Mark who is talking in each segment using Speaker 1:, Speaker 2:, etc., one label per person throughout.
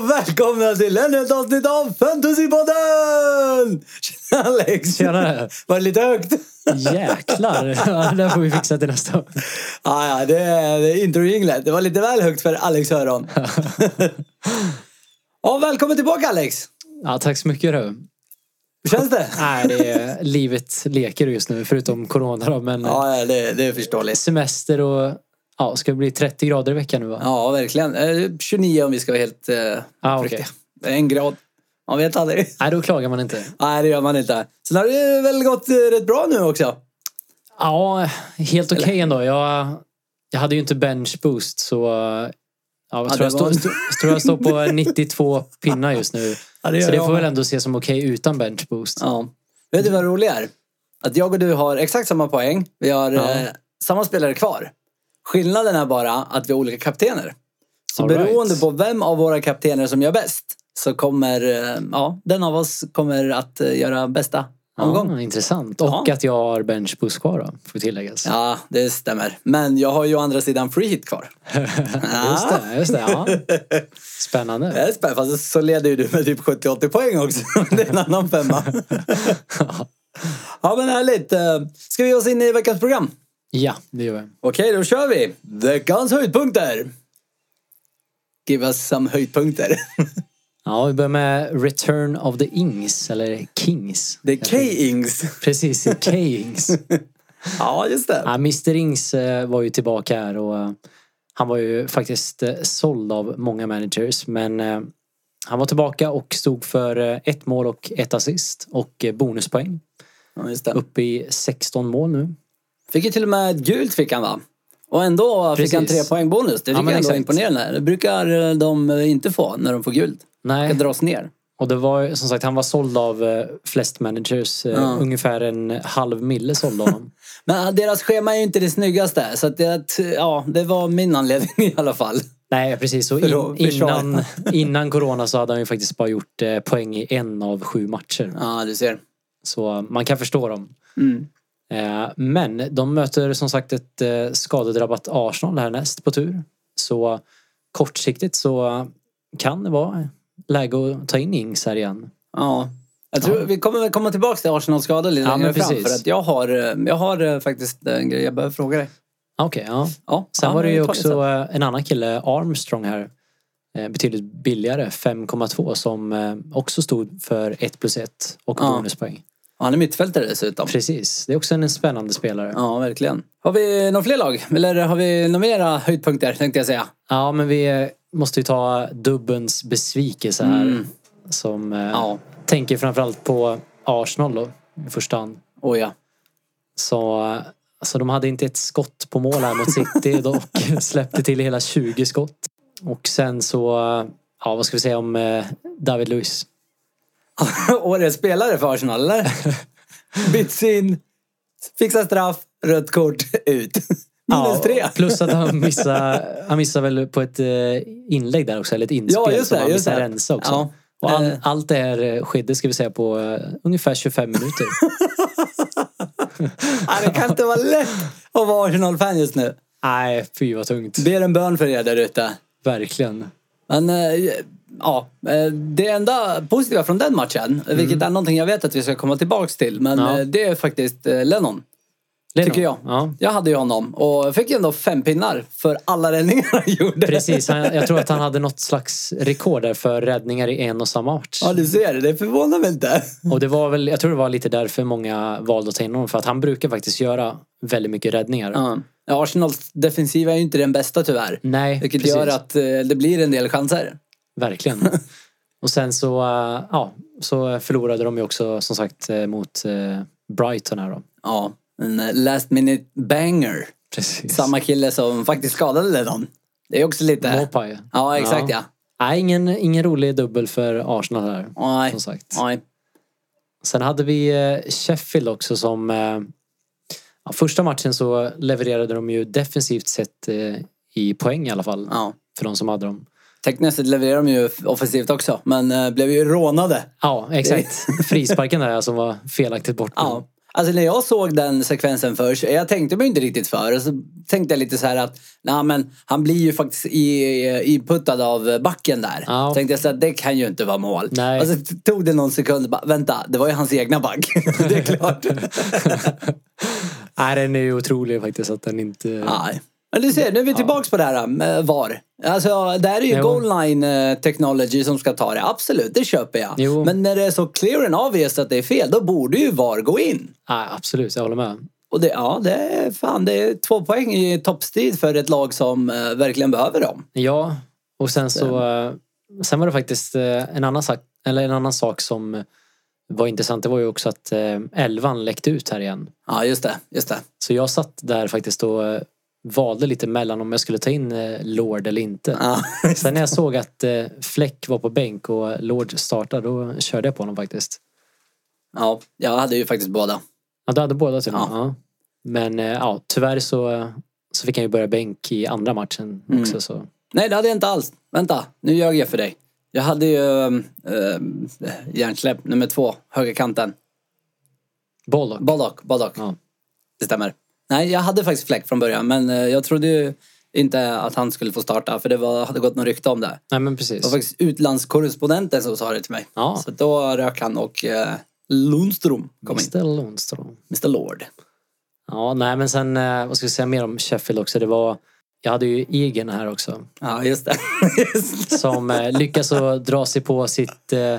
Speaker 1: välkomna till ännu ett avsnitt av Fantasypodden! Tjena Alex!
Speaker 2: Tjenare.
Speaker 1: Var det lite högt?
Speaker 2: Jäklar! Ja, det där får vi fixa till nästa gång.
Speaker 1: Ah, ja, det är introjinglet. Det var lite väl högt för Alex öron. ja, välkommen tillbaka Alex!
Speaker 2: Ja, tack så mycket du.
Speaker 1: Hur känns det?
Speaker 2: Nej, det är, livet leker just nu förutom corona då. Men
Speaker 1: Ja, ja, det, det är förståeligt.
Speaker 2: semester och ja, ska det bli 30 grader i veckan nu va?
Speaker 1: Ja, verkligen. Eh, 29 om vi ska vara helt eh,
Speaker 2: Ah,
Speaker 1: fräcka.
Speaker 2: okej.
Speaker 1: Det är En grad. Man vet aldrig.
Speaker 2: Nej, då klagar man inte.
Speaker 1: Nej, det gör man inte. Sen har det väl gått eh, rätt bra nu också?
Speaker 2: Ja, helt okej ändå. Jag, jag hade ju inte bench boost så ja, jag
Speaker 1: det
Speaker 2: tror, jag
Speaker 1: var-
Speaker 2: står, stå, tror jag står på 92 pinnar just nu.
Speaker 1: Ja,
Speaker 2: Så det får väl ändå ses som okej utan bench boost.
Speaker 1: Ja. Vet du vad roligt är? Att jag och du har exakt samma poäng. Vi har
Speaker 2: Ja.
Speaker 1: eh, samma spelare kvar. Skillnaden är bara att vi har olika kaptener. Så
Speaker 2: All right.
Speaker 1: beroende på vem av våra kaptener som gör bäst så kommer eh, ja, den av oss kommer att eh, göra bästa omgång.
Speaker 2: Ja, intressant. Och
Speaker 1: Ja.
Speaker 2: att jag har bench boost kvar då, får tilläggas.
Speaker 1: Ja, det stämmer. Men jag har ju å andra sidan free hit kvar.
Speaker 2: Just det, just det. Ja.
Speaker 1: Det
Speaker 2: Spännande.
Speaker 1: är spännande. Fast så leder ju du med typ 70-80 poäng också. Det är en annan femma. Ja, men härligt. Eh, Ska vi ge oss in i veckans program?
Speaker 2: Ja, det gör jag.
Speaker 1: Okej, då kör vi! Veckans höjdpunkter! Give us some höjdpunkter.
Speaker 2: Ja, vi börjar med Return of the Ings, eller Kings.
Speaker 1: Det är K-Ings.
Speaker 2: Precis, K-Ings.
Speaker 1: Ja, just det.
Speaker 2: Ja, Mr Ings eh, var ju tillbaka här och eh, han var ju faktiskt eh, såld av många managers. Men eh, han var tillbaka och stod för eh, ett mål och ett assist och eh, bonuspoäng.
Speaker 1: Ja, just det.
Speaker 2: Uppe i 16 mål nu.
Speaker 1: Fick ju till och med ett gult fick han va? Och ändå fick
Speaker 2: Precis.
Speaker 1: han tre poäng bonus. Det fick
Speaker 2: Ja, men
Speaker 1: jag ändå
Speaker 2: exakt.
Speaker 1: imponerande. Det brukar eh, de eh, inte få när de får guld. Det
Speaker 2: Nej,
Speaker 1: kan dras ner.
Speaker 2: Och det var ju- som sagt, han var såld av eh, flest managers. Eh,
Speaker 1: Ja.
Speaker 2: Ungefär en halv mille sålde honom.
Speaker 1: Men eh, deras schema är ju inte det snyggaste. Så att det, ja, det var min anledning i alla fall.
Speaker 2: Nej, precis. Och in,
Speaker 1: Förlåt, försvara.
Speaker 2: innan, innan corona så hade han ju faktiskt bara gjort eh, poäng i en av sju matcher.
Speaker 1: Ja, du ser.
Speaker 2: Så eh, man kan förstå dem.
Speaker 1: Mm.
Speaker 2: Eh, men de möter som sagt ett eh, skadedrabbat Arsenal härnäst på tur. Så kortsiktigt så kan det vara läge att ta in Ings här igen.
Speaker 1: Ja. Jag tror vi kommer väl komma tillbaka till Arsenal-skadan lite
Speaker 2: Ja, men
Speaker 1: längre fram.
Speaker 2: precis.
Speaker 1: För att jag har, eh, jag har eh, faktiskt en grej jag behöver fråga dig.
Speaker 2: Ah, Okej, ja.
Speaker 1: Ja,
Speaker 2: Sen
Speaker 1: ja,
Speaker 2: var det
Speaker 1: men
Speaker 2: ju
Speaker 1: vi tar
Speaker 2: också
Speaker 1: sen.
Speaker 2: eh, en annan kille, Armstrong här. eh, Betydligt billigare, 5,2 som eh, också stod för 1 plus 1 och
Speaker 1: Ja.
Speaker 2: bonuspoäng.
Speaker 1: Ja, Han är mittfältare dessutom.
Speaker 2: Precis, det är också en spännande spelare. Ja,
Speaker 1: Ja, verkligen. Har vi några fler lag? Eller har vi några mera höjdpunkter tänkte jag säga?
Speaker 2: men vi eh, måste ju ta dubbens besvikelse här. Som eh,
Speaker 1: Ja.
Speaker 2: tänker framförallt på Arsenal då, i första hand.
Speaker 1: Oh, ja.
Speaker 2: Så, eh, alltså, de hade inte ett skott på mål här mot City dock. Släppte till hela 20 skott. Och sen så, eh, ja vad ska vi säga om eh, David Luiz?
Speaker 1: Årets spelare för Arsenal, eller? Byts in, fixar straff, rött kort, ut. Minus tre.
Speaker 2: Plus att han missar, han missar väl på ett eh, inlägg där också, eller ett inspel
Speaker 1: Ja, just
Speaker 2: som
Speaker 1: det,
Speaker 2: han
Speaker 1: just
Speaker 2: missar
Speaker 1: det.
Speaker 2: rensa också.
Speaker 1: Ja.
Speaker 2: Och all,
Speaker 1: Eh.
Speaker 2: allt det här eh, skedde, ska vi säga, på eh, ungefär 25 minuter.
Speaker 1: Nej, det kan inte vara lätt att vara Arsenal-fan just nu.
Speaker 2: Nej, fy vad tungt.
Speaker 1: Ber en bön för er där ute.
Speaker 2: Verkligen.
Speaker 1: Men eh, ja, eh, det enda positiva från den matchen, vilket är någonting jag vet att vi ska komma tillbaks till, men
Speaker 2: Mm. Ja.
Speaker 1: eh, det är faktiskt eh, Lennon.
Speaker 2: Lennon.
Speaker 1: Tycker jag.
Speaker 2: Ja.
Speaker 1: Jag hade ju honom och fick ju ändå fem pinnar för alla räddningar han gjorde.
Speaker 2: Precis, han, jag tror att han hade något slags rekord där för räddningar i en och samma match.
Speaker 1: Ja, du ser. Det förvånar mig inte.
Speaker 2: Och det var väl, jag tror det var lite därför många valde att ta in honom. För att han brukar faktiskt göra väldigt mycket räddningar.
Speaker 1: Ja. Ja, Arsenals defensiv är ju inte den bästa tyvärr.
Speaker 2: Nej,
Speaker 1: Vilket
Speaker 2: Mm, precis.
Speaker 1: gör att eh, det blir en del chanser.
Speaker 2: Verkligen. Och sen så, eh, ja, så förlorade de ju också som sagt eh, mot eh, Brighton här då.
Speaker 1: Ja, en eh, last minute banger.
Speaker 2: Precis.
Speaker 1: Samma kille som faktiskt skadade Lennon. Det är också lite...
Speaker 2: Mopai.
Speaker 1: Ja, exakt ja.
Speaker 2: Nej, ingen, ingen rolig dubbel för Arsenal här.
Speaker 1: Nej.
Speaker 2: Som sagt.
Speaker 1: Nej.
Speaker 2: Sen hade vi eh, Sheffield också som... eh, Ja, första matchen så levererade de ju defensivt sett eh, i poäng i alla fall.
Speaker 1: Ja.
Speaker 2: För de som hade dem.
Speaker 1: Tekniskt sett levererar de ju offensivt också, men eh, blev ju rånade.
Speaker 2: Ja, exakt. Frisparken där som var alltså, felaktigt bort.
Speaker 1: Ja. Alltså när jag såg den sekvensen först, jag tänkte mig inte riktigt för. Och så tänkte jag lite så här att, nej men han blir ju faktiskt i- eh, inputtad av backen där.
Speaker 2: Ja.
Speaker 1: Tänkte jag så här, det kan ju inte vara mål.
Speaker 2: Nej.
Speaker 1: Och så tog det någon sekund, och bara, vänta, det var ju hans egna back. det är klart.
Speaker 2: Nej, den är ju otrolig faktiskt att den inte...
Speaker 1: Nej. Men du ser, nu är vi tillbaks på det här med VAR. Alltså, det här är ju
Speaker 2: Jo.
Speaker 1: goal line eh, technology som ska ta det. Absolut, det köper jag.
Speaker 2: Jo.
Speaker 1: Men när det är så clear and obvious att det är fel, då borde ju VAR gå in.
Speaker 2: Nej, absolut. Jag håller med.
Speaker 1: Och det, ja, det är fan, det är två poäng i toppstrid för ett lag som eh, verkligen behöver dem.
Speaker 2: Ja, och sen så... eh, Sen var det faktiskt eh, en annan sak, eller en annan sak som var intressant. Det var ju också att eh, elvan läckte ut här igen.
Speaker 1: Ja, just det. Just det.
Speaker 2: Så jag satt där faktiskt och eh, valde lite mellan om jag skulle ta in eh, Lord eller inte.
Speaker 1: Ja.
Speaker 2: Sen när jag såg att eh, Fläck var på bänk och Lord startade, då körde jag på honom faktiskt.
Speaker 1: ja, jag hade ju faktiskt båda.
Speaker 2: Ja, du hade båda till och med.
Speaker 1: Ja.
Speaker 2: Ja. Men eh, ja, tyvärr så, eh, så fick han ju börja bänk i andra matchen
Speaker 1: Mm.
Speaker 2: också. Så.
Speaker 1: Nej, det hade jag inte alls. Vänta, nu ljög jag för dig. Jag hade ju um, järnsläpp nummer två, högerkanten.
Speaker 2: Bollock.
Speaker 1: Bollock, Bollock.
Speaker 2: Ja.
Speaker 1: Det stämmer. Nej, jag hade faktiskt Fläck från början, men eh, jag trodde ju inte att han skulle få starta, för det var, hade gått något rykte om det.
Speaker 2: Nej, men
Speaker 1: Det
Speaker 2: precis.
Speaker 1: var faktiskt utlandskorrespondenten som sa det till mig.
Speaker 2: Ja.
Speaker 1: Så då rök han och eh, Lundström kom in.
Speaker 2: Mr Lundström.
Speaker 1: Mr Lord.
Speaker 2: Ja, nej, men sen, eh, vad ska jag säga mer om Sheffield också? Det var, jag hade ju egen här också.
Speaker 1: Ja, just det. Just det.
Speaker 2: Som eh, lyckas att dra sig på sitt eh,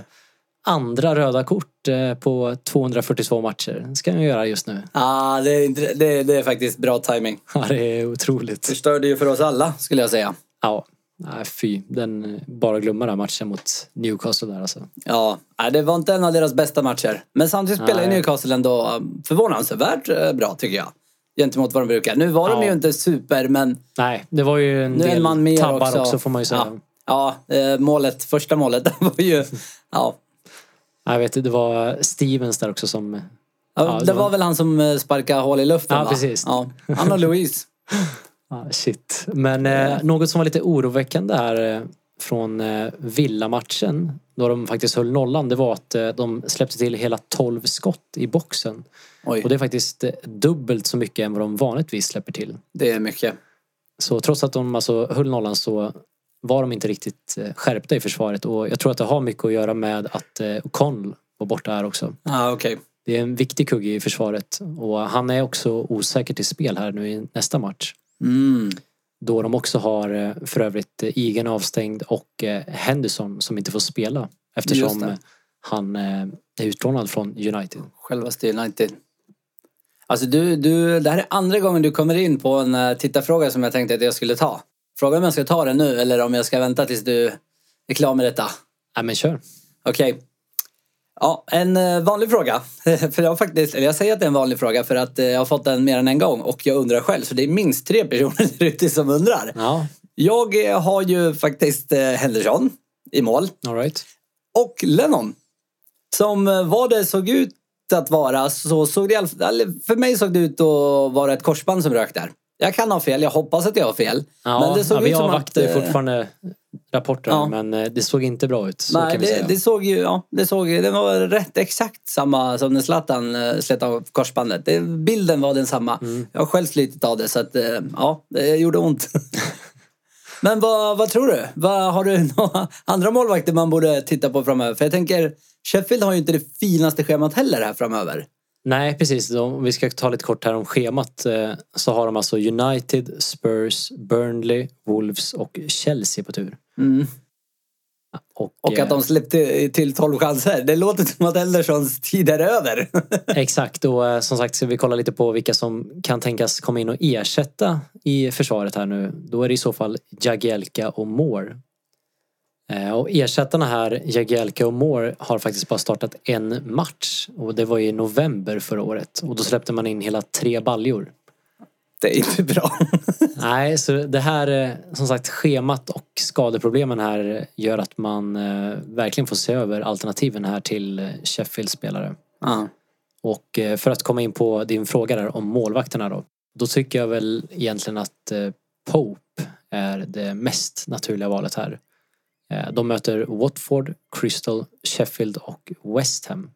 Speaker 2: andra röda kort eh, på 242 matcher. Det ska han ju göra just nu.
Speaker 1: Ja, det, är inte, det, det är faktiskt bra timing.
Speaker 2: Ja, det är otroligt.
Speaker 1: Förstörde ju för oss alla, skulle jag säga.
Speaker 2: Ja, nej, fy. Den, eh, bara glömma den här matchen mot Newcastle där alltså.
Speaker 1: Ja, nej, det var inte en av deras bästa matcher. Men samtidigt spelar ju
Speaker 2: Nej.
Speaker 1: Newcastle ändå eh, förvånansvärt eh, bra, tycker jag. Gentemot vad de brukar. Nu var de
Speaker 2: Ja.
Speaker 1: ju inte super, men
Speaker 2: Nej, det var ju en
Speaker 1: nu är
Speaker 2: del
Speaker 1: en man mer
Speaker 2: tabbar också.
Speaker 1: också.
Speaker 2: får man ju säga.
Speaker 1: Ja, ja eh, målet, första målet, det var ju... Ja.
Speaker 2: Jag vet, det var Stevens där också som...
Speaker 1: Ja, det var väl han som eh, sparkade hål i luften,
Speaker 2: Ja,
Speaker 1: va?
Speaker 2: precis.
Speaker 1: Ja. Han och Louise.
Speaker 2: Ah, shit. Men eh, något som var lite oroväckande här eh, från eh, Villamatchen, då de faktiskt höll nollan, det var att eh, de släppte till hela 12 skott i boxen.
Speaker 1: Oj,
Speaker 2: Och det är faktiskt eh, dubbelt så mycket än vad de vanligtvis släpper till.
Speaker 1: det är mycket.
Speaker 2: Så trots att de alltså höll nollan så var de inte riktigt eh, skärpta i försvaret och jag tror att det har mycket att göra med att eh, O'Connell var borta här också.
Speaker 1: Ja, okej.
Speaker 2: Det är en viktig kugge i försvaret och han är också osäker till spel här nu i nästa match.
Speaker 1: Mm.
Speaker 2: Då de också har eh, för övrigt eh, Igen avstängd och eh, Henderson som inte får spela
Speaker 1: Just
Speaker 2: eftersom
Speaker 1: det.
Speaker 2: eh, han eh, är utlånad från United.
Speaker 1: Självaste United. Alltså du, du, det här är andra gången du kommer in på en eh, tittarfråga som jag tänkte att jag skulle ta. Fråga om jag ska ta den nu eller om jag ska vänta tills du är klar med detta.
Speaker 2: Nej men kör.
Speaker 1: Okej. Ja, en eh, vanlig fråga. för jag, har faktiskt, eller jag säger att det är en vanlig fråga för att eh, jag har fått den mer än en gång och jag undrar själv. Så det är minst tre personer där ute som undrar.
Speaker 2: Ja,
Speaker 1: Jag eh, har ju faktiskt eh, Henderson i mål
Speaker 2: alright.
Speaker 1: och Lennon. Som eh, vad det såg ut att vara så såg det i alla fall- eller för mig såg det ut att vara ett korsband som rök där. Jag kan ha fel, jag hoppas att jag har fel.
Speaker 2: Ja,
Speaker 1: men det såg
Speaker 2: ja,
Speaker 1: ut
Speaker 2: vi
Speaker 1: som
Speaker 2: avvaktar ju
Speaker 1: att... eh,
Speaker 2: fortfarande rapporter
Speaker 1: ja.
Speaker 2: men eh, det såg inte bra ut. Så
Speaker 1: Nej,
Speaker 2: kan vi
Speaker 1: det,
Speaker 2: säga.
Speaker 1: det såg ju, ja, det såg, det var rätt exakt samma som när Zlatan eh, slet av korsbandet. Det, bilden var densamma.
Speaker 2: Mm.
Speaker 1: Jag har själv slitit av det så att, eh, ja, det gjorde ont. Men vad, vad tror du? Vad, har du några andra målvakter man borde titta på framöver? För jag tänker, Sheffield har ju inte det finaste schemat heller här framöver.
Speaker 2: Nej, precis. De- Om vi ska ta lite kort här om schemat eh, så har de alltså United, Spurs, Burnley, Wolves och Chelsea på tur.
Speaker 1: Mm.
Speaker 2: Och,
Speaker 1: Och
Speaker 2: eh,
Speaker 1: att de släppte till 12 chanser. Det låter som att Eldersons tid är över.
Speaker 2: Exakt, och eh, som sagt ska vi kolla lite på vilka som kan tänkas komma in och ersätta i försvaret här nu. Då är det i så fall Jagielka och Moore. Eh, Och ersättarna här, Jagielka och Moore, har faktiskt bara startat en match. Och det var i november förra året. Och då släppte man in hela tre baljor.
Speaker 1: det är inte bra.
Speaker 2: Nej, så det här eh, som sagt schemat och skadeproblemen här gör att man eh, verkligen får se över alternativen här till eh, Sheffields spelare.
Speaker 1: Ja.
Speaker 2: Och eh, för att komma in på din fråga där om målvakterna då. Då tycker jag väl egentligen att eh, Pope är det mest naturliga valet här. Eh, De möter Watford, Crystal, Sheffield och West Ham.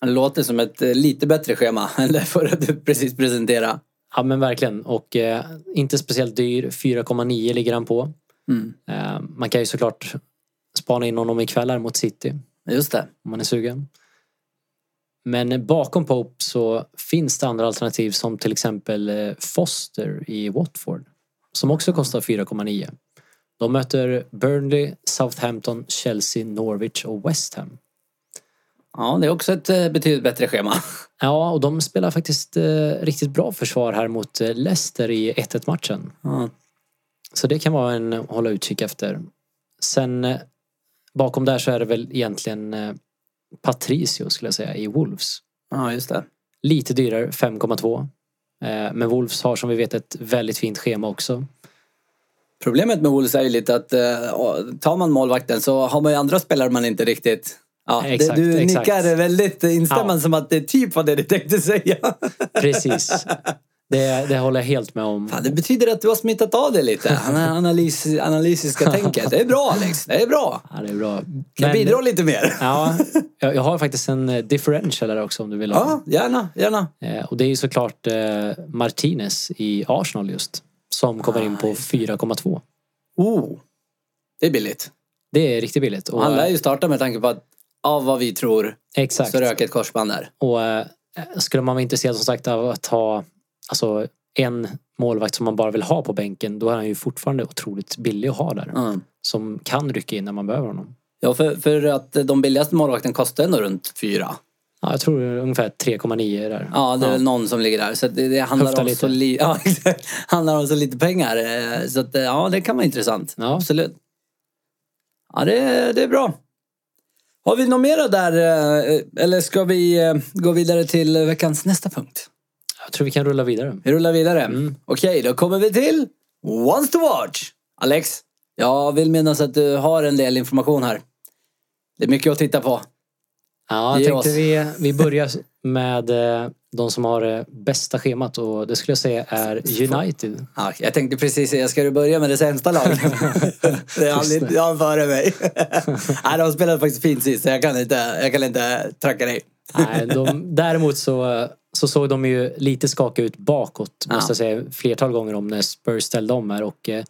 Speaker 1: Det låter som ett eh, lite bättre schema än det förra du precis presenterade.
Speaker 2: Ja men verkligen. Och eh, inte speciellt dyr. 4,9 ligger han på.
Speaker 1: Mm.
Speaker 2: Eh, man kan ju såklart spana in honom ikväll här mot City.
Speaker 1: Just det.
Speaker 2: om man är sugen. Men bakom Pope så finns det andra alternativ som till exempel eh, Foster i Watford. Som också kostar 4,9. De möter Burnley, Southampton, Chelsea, Norwich och West Ham.
Speaker 1: Ja, det är också ett eh, betydligt bättre schema.
Speaker 2: Ja, och de spelar faktiskt eh, riktigt bra försvar här mot eh, Leicester i 1-1 matchen.
Speaker 1: Ja.
Speaker 2: Så det kan vara en eh, att hålla utkik efter. Sen eh, bakom där så är det väl egentligen eh, Patricio skulle jag säga i Wolves.
Speaker 1: ja, just det.
Speaker 2: Lite dyrare, 5,2. Eh, Men Wolves har som vi vet ett väldigt fint schema också.
Speaker 1: Problemet med Wolves är ju lite att eh, tar man målvakten så har man ju andra spelare man inte riktigt... Ja,
Speaker 2: Exakt,
Speaker 1: det, du
Speaker 2: exakt.
Speaker 1: nickar väldigt instämmande
Speaker 2: Ja.
Speaker 1: som att det är typ vad det du tänkte säga.
Speaker 2: Precis. Det, det håller jag helt med om.
Speaker 1: Fan, det betyder att du har smittat av dig lite. Analys, analytiska tänket. Det är bra Alex, det är bra.
Speaker 2: Ja, det är bra.
Speaker 1: Kan
Speaker 2: Men- eh,
Speaker 1: bidra lite mer.
Speaker 2: Ja, jag jag har faktiskt en eh, differential där också om du vill ha.
Speaker 1: Ja, gärna, gärna.
Speaker 2: Eh, Och det är ju såklart eh, Martinez i Arsenal just. Som kommer in på 4,2.
Speaker 1: Oh, det är billigt.
Speaker 2: Det är riktigt billigt.
Speaker 1: Och
Speaker 2: Och,
Speaker 1: han lär
Speaker 2: eh,
Speaker 1: ju starta med tanke på att av vad vi tror
Speaker 2: exakt.
Speaker 1: så rök ett korsband där.
Speaker 2: Och eh, skulle man vara intresserad som sagt av att ha alltså, en målvakt som man bara vill ha på bänken då är han ju fortfarande otroligt billig att ha där.
Speaker 1: Mm.
Speaker 2: Som kan rycka in när man behöver honom.
Speaker 1: Ja, för, för att de billigaste målvakten kostar ändå runt fyra.
Speaker 2: Ja, jag tror det är ungefär 3,9 där.
Speaker 1: Ja, det är väl någon som ligger där. Så att det, det handlar,
Speaker 2: Höfta
Speaker 1: om
Speaker 2: lite.
Speaker 1: så li- ja, exakt. handlar om så lite pengar. eh, Så att, eh, ja, det kan vara intressant.
Speaker 2: Ja.
Speaker 1: Absolut. Ja, det, det är bra. Har vi något mera där? eh, Eller ska vi eh, gå vidare till veckans nästa punkt?
Speaker 2: Jag tror vi kan rulla vidare.
Speaker 1: Vi rullar vidare. Okej, då kommer vi till Once to watch. Alex, jag vill minnas att du har en del information här. Det är mycket att titta på.
Speaker 2: Ja,
Speaker 1: Ge
Speaker 2: jag tänkte
Speaker 1: oss.
Speaker 2: vi, vi börjar med eh, de som har eh, bästa schemat och det skulle jag säga är United.
Speaker 1: Ja, jag tänkte precis säga, ska du börja med det sämsta laget? det är aldrig, jag har före mig. Nej, de spelade faktiskt fint sist, så jag kan inte, jag kan inte tracka dig.
Speaker 2: Nej, de, däremot så, eh, så såg de ju lite skaka ut bakåt
Speaker 1: Ja.
Speaker 2: måste jag säga flertal gånger om när Spurs ställde om här och eh,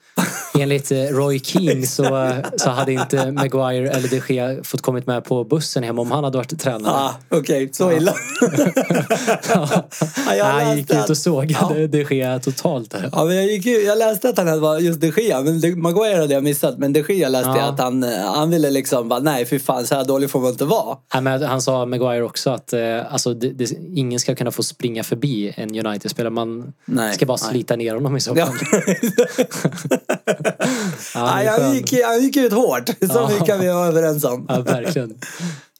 Speaker 2: enligt eh, Roy Keane så, eh, så hade inte Maguire eller de Gea fått kommit med på bussen hem om han hade varit tränare.
Speaker 1: Ah, Okej, så illa. ja, jag,
Speaker 2: Han gick
Speaker 1: läste
Speaker 2: ut och
Speaker 1: att,
Speaker 2: sågade de Gea totalt där.
Speaker 1: ja, men jag, gick, ju- jag läste att han hade varit just de Gea, men de, Maguire hade jag missat. Men de Gea läste jag
Speaker 2: Ja.
Speaker 1: att han, eh, han ville liksom bara, nej fy fan, så här dålig får man inte vara.
Speaker 2: Nej, men han sa Maguire också att eh, alltså, det, det, ingen ska kunna få springa förbi en United-spelare. Man
Speaker 1: Nej,
Speaker 2: ska bara
Speaker 1: nej.
Speaker 2: slita ner honom i så fall.
Speaker 1: Ja.
Speaker 2: han
Speaker 1: nej,
Speaker 2: är
Speaker 1: han,
Speaker 2: skön.
Speaker 1: gick, han gick ut hårt, så
Speaker 2: Ja.
Speaker 1: mycket kan vi vara överens om.
Speaker 2: Ja, verkligen.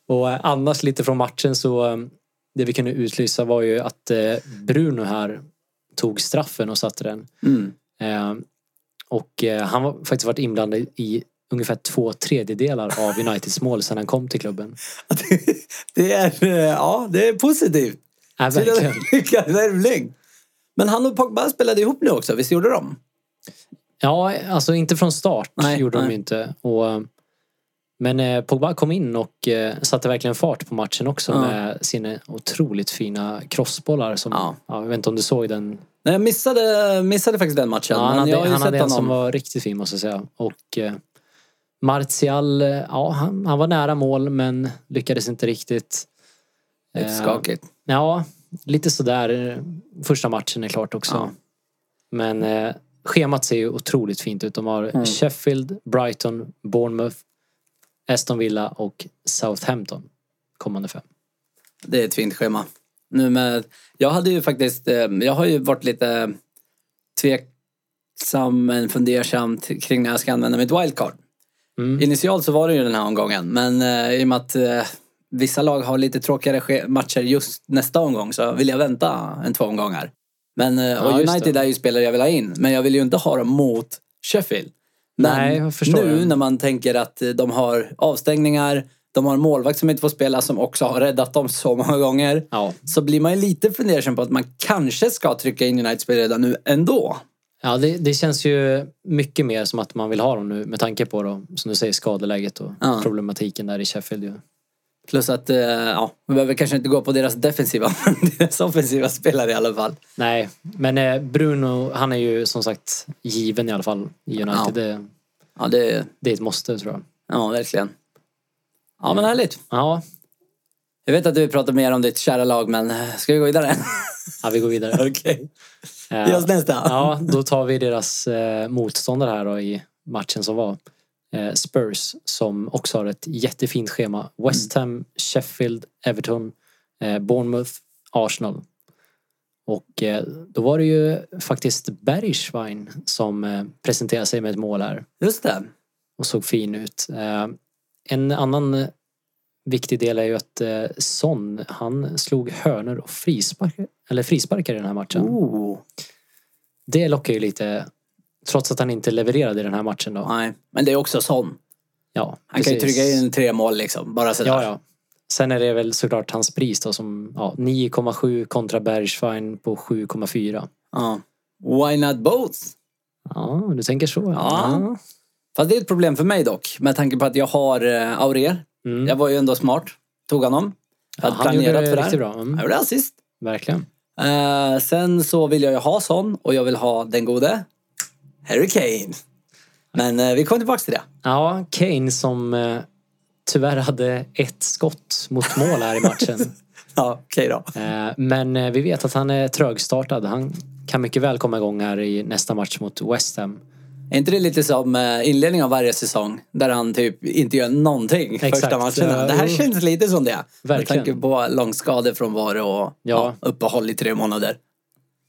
Speaker 2: Och eh, annars lite från matchen så eh, det vi kunde utlysa var ju att eh, Bruno här tog straffen och satte den.
Speaker 1: Mm.
Speaker 2: Eh, och eh, han har faktiskt varit inblandad i ungefär två tredjedelar av Uniteds mål sedan han kom till klubben.
Speaker 1: Det är, eh, ja, det är positivt.
Speaker 2: Ja,
Speaker 1: Till
Speaker 2: verkligen.
Speaker 1: en lyckad värvning. Men han och Pogba spelade ihop nu också, visst gjorde de?
Speaker 2: Ja, alltså inte från start
Speaker 1: Nej,
Speaker 2: gjorde de
Speaker 1: nej.
Speaker 2: ju inte. Och, eh, men eh, Pogba kom in och eh, satte verkligen fart på matchen också
Speaker 1: Ja.
Speaker 2: med sina otroligt fina crossbollar. Som,
Speaker 1: Ja.
Speaker 2: ja. jag vet inte om du såg den.
Speaker 1: Nej, jag missade, missade faktiskt den matchen.
Speaker 2: Ja, han
Speaker 1: men
Speaker 2: hade,
Speaker 1: jag har ju
Speaker 2: han hade
Speaker 1: sett
Speaker 2: en som
Speaker 1: honom.
Speaker 2: var riktigt fin måste jag säga. Och eh, Martial, eh, ja han, han var nära mål men lyckades inte riktigt.
Speaker 1: Lite
Speaker 2: Eh,
Speaker 1: skakigt.
Speaker 2: Ja, lite sådär. eh, Första matchen är klart också.
Speaker 1: Ja.
Speaker 2: Men eh, schemat ser ju otroligt fint ut. De har
Speaker 1: Mm.
Speaker 2: Sheffield, Brighton, Bournemouth, Aston Villa och Southampton kommande fem.
Speaker 1: Det är ett fint schema. Nu med, jag hade ju faktiskt, eh, jag har ju varit lite tveksam men fundersam t- kring när jag ska använda mitt wildcard.
Speaker 2: Mm.
Speaker 1: Initialt så var det ju den här omgången men eh, i och med att eh, vissa lag har lite tråkigare ske- matcher just nästa omgång så vill jag vänta en två omgångar. Men, eh, och
Speaker 2: Ja, just
Speaker 1: United
Speaker 2: det.
Speaker 1: är ju spelare jag vill ha in men jag vill ju inte ha dem mot Sheffield. Men
Speaker 2: Nej, jag förstår
Speaker 1: nu
Speaker 2: det.
Speaker 1: när man tänker att eh, de har avstängningar, de har en målvakt som inte får spela som också har räddat dem så många gånger
Speaker 2: Ja.
Speaker 1: så blir man ju lite fundersam på att man kanske ska trycka in United-spel redan nu ändå.
Speaker 2: Ja, det, det känns ju mycket mer som att man vill ha dem nu med tanke på då, som du säger skadeläget och
Speaker 1: Ja.
Speaker 2: problematiken där i Sheffield. Ju.
Speaker 1: Plus att, eh, ja, vi behöver kanske inte gå på deras defensiva, men deras offensiva spelare i alla fall.
Speaker 2: Nej, men eh, Bruno, han är ju som sagt given i alla fall i United.
Speaker 1: Ja.
Speaker 2: Det,
Speaker 1: Ja, det,
Speaker 2: det är ett måste tror jag.
Speaker 1: ja verkligen. Ja, men härligt.
Speaker 2: Ja,
Speaker 1: Jag vet att du pratar mer om ditt kära lag, men eh, ska vi gå vidare?
Speaker 2: ja vi går vidare.
Speaker 1: Okej.
Speaker 2: Eh,
Speaker 1: Ge oss nästa.
Speaker 2: Ja, då tar vi deras eh, motståndare här då i matchen som var. Eh, Spurs som också har ett jättefint schema. West Ham, Sheffield, Everton, eh, Bournemouth, Arsenal. Och eh, då var det ju faktiskt Bergschwein som eh, presenterade sig med ett mål här
Speaker 1: Just det.
Speaker 2: och såg fin ut. Eh, en annan eh, viktig del är ju att eh, Son, han slog hörnor och frisparkar, eller frisparkar i den här matchen.
Speaker 1: Oh.
Speaker 2: Det lockar ju lite. Trots att han inte levererade i den här matchen då.
Speaker 1: Nej, men det är också sån.
Speaker 2: Ja,
Speaker 1: Han kan ju
Speaker 2: precis.
Speaker 1: trycka in tre mål liksom, bara sådär.
Speaker 2: Ja, ja. Sen är det väl såklart hans pris då som ja, 9,7 kontra Bergschwein på 7,4.
Speaker 1: Ja. Why not both?
Speaker 2: Ja, du tänker så.
Speaker 1: Ja. Fast det är ett problem för mig dock, med tanke på att jag har eh, Aurier.
Speaker 2: Mm.
Speaker 1: Jag var ju ändå smart. Tog honom. Jag
Speaker 2: Ja,
Speaker 1: hade
Speaker 2: han gjorde
Speaker 1: planerat
Speaker 2: det
Speaker 1: för det
Speaker 2: riktigt
Speaker 1: här.
Speaker 2: bra. Mm,
Speaker 1: Jag gjorde assist.
Speaker 2: verkligen.
Speaker 1: Eh, sen så vill jag ju ha sån och jag vill ha den gode. Harry Kane. Men eh, vi kommer tillbaka till det.
Speaker 2: Ja, Kane som eh, tyvärr hade ett skott mot mål här i matchen.
Speaker 1: Ja, okej då.
Speaker 2: Eh, Men eh, vi vet att han är trögstartad. Han kan mycket väl komma igång här i nästa match mot West Ham.
Speaker 1: Är inte det lite som eh, inledningen av varje säsong? Där han typ inte gör någonting
Speaker 2: Exakt.
Speaker 1: första matcherna. Det här
Speaker 2: Ja, jo.
Speaker 1: känns lite som det. Med
Speaker 2: Verkligen.
Speaker 1: tanke på långskador från var och ja. uppehåll i tre månader.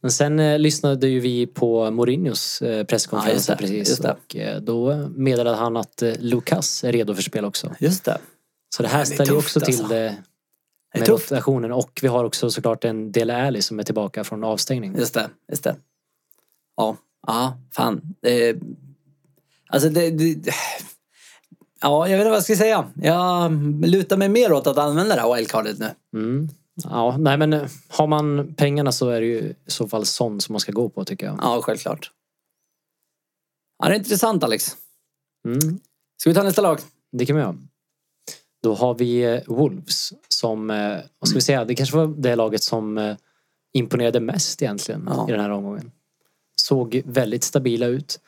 Speaker 2: Men sen eh, lyssnade ju vi på Mourinhos eh,
Speaker 1: Ja,
Speaker 2: presskonferens
Speaker 1: just det,
Speaker 2: här precis.
Speaker 1: just det.
Speaker 2: Och eh, då meddelade han att eh, Lucas är redo för spel också.
Speaker 1: Just det.
Speaker 2: Så det här
Speaker 1: det är
Speaker 2: ställer ju
Speaker 1: tufft,
Speaker 2: också till
Speaker 1: alltså.
Speaker 2: det
Speaker 1: Det är
Speaker 2: med
Speaker 1: tufft.
Speaker 2: rotationen. Och vi har också såklart en Dele Alli som är tillbaka från avstängning.
Speaker 1: Just det, just det. Ja, ja fan. Det, är- alltså det, det... Ja, jag vet inte vad jag ska säga. Jag lutar mig mer åt att använda det här wildcardet nu.
Speaker 2: Mm. Ja, nej men eh, har man pengarna så är det ju i så fall sån som man ska gå på tycker jag.
Speaker 1: Ja, självklart. Ja, det är intressant Alex.
Speaker 2: Mm.
Speaker 1: Ska vi ta nästa lag?
Speaker 2: Det kan man göra. Då har vi eh, Wolves som, eh, vad ska vi säga, det kanske var det laget som eh, imponerade mest egentligen
Speaker 1: Ja.
Speaker 2: i den här omgången. Såg väldigt stabila ut.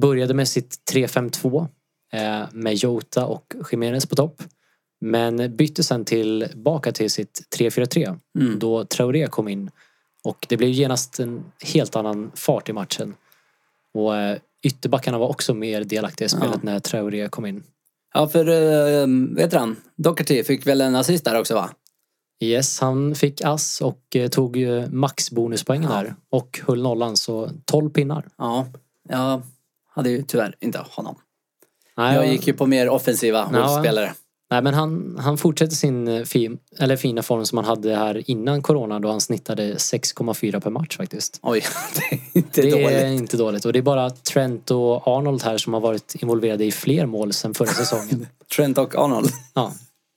Speaker 2: Började med sitt 3-5-2 eh, med Jota och Jiménez på topp. Men bytte sen tillbaka till sitt 3-4-3
Speaker 1: Mm.
Speaker 2: då Traoré kom in. Och det blev genast en helt annan fart i matchen. Och eh, ytterbackarna var också mer delaktiga i spelet när Traoré kom in.
Speaker 1: Ja, för äh, vet du han? Doherty fick väl en assist där också va?
Speaker 2: Yes, han fick ass och eh, tog ju max bonuspoängen där. Och höll nollan, så 12 pinnar.
Speaker 1: Ja, jag hade ju tyvärr inte honom.
Speaker 2: Nej,
Speaker 1: Jag gick ju på mer offensiva
Speaker 2: Ja.
Speaker 1: Wolves-spelare.
Speaker 2: nej men han, han fortsätter sin eh, fin, eller fina form som han hade här innan corona då han snittade 6,4 per match faktiskt.
Speaker 1: Oj, det är inte
Speaker 2: Det
Speaker 1: dåligt.
Speaker 2: är inte dåligt. Och det är bara Trent och Arnold här som har varit involverade i fler mål sedan förra säsongen.
Speaker 1: Trent och Arnold.
Speaker 2: Ja.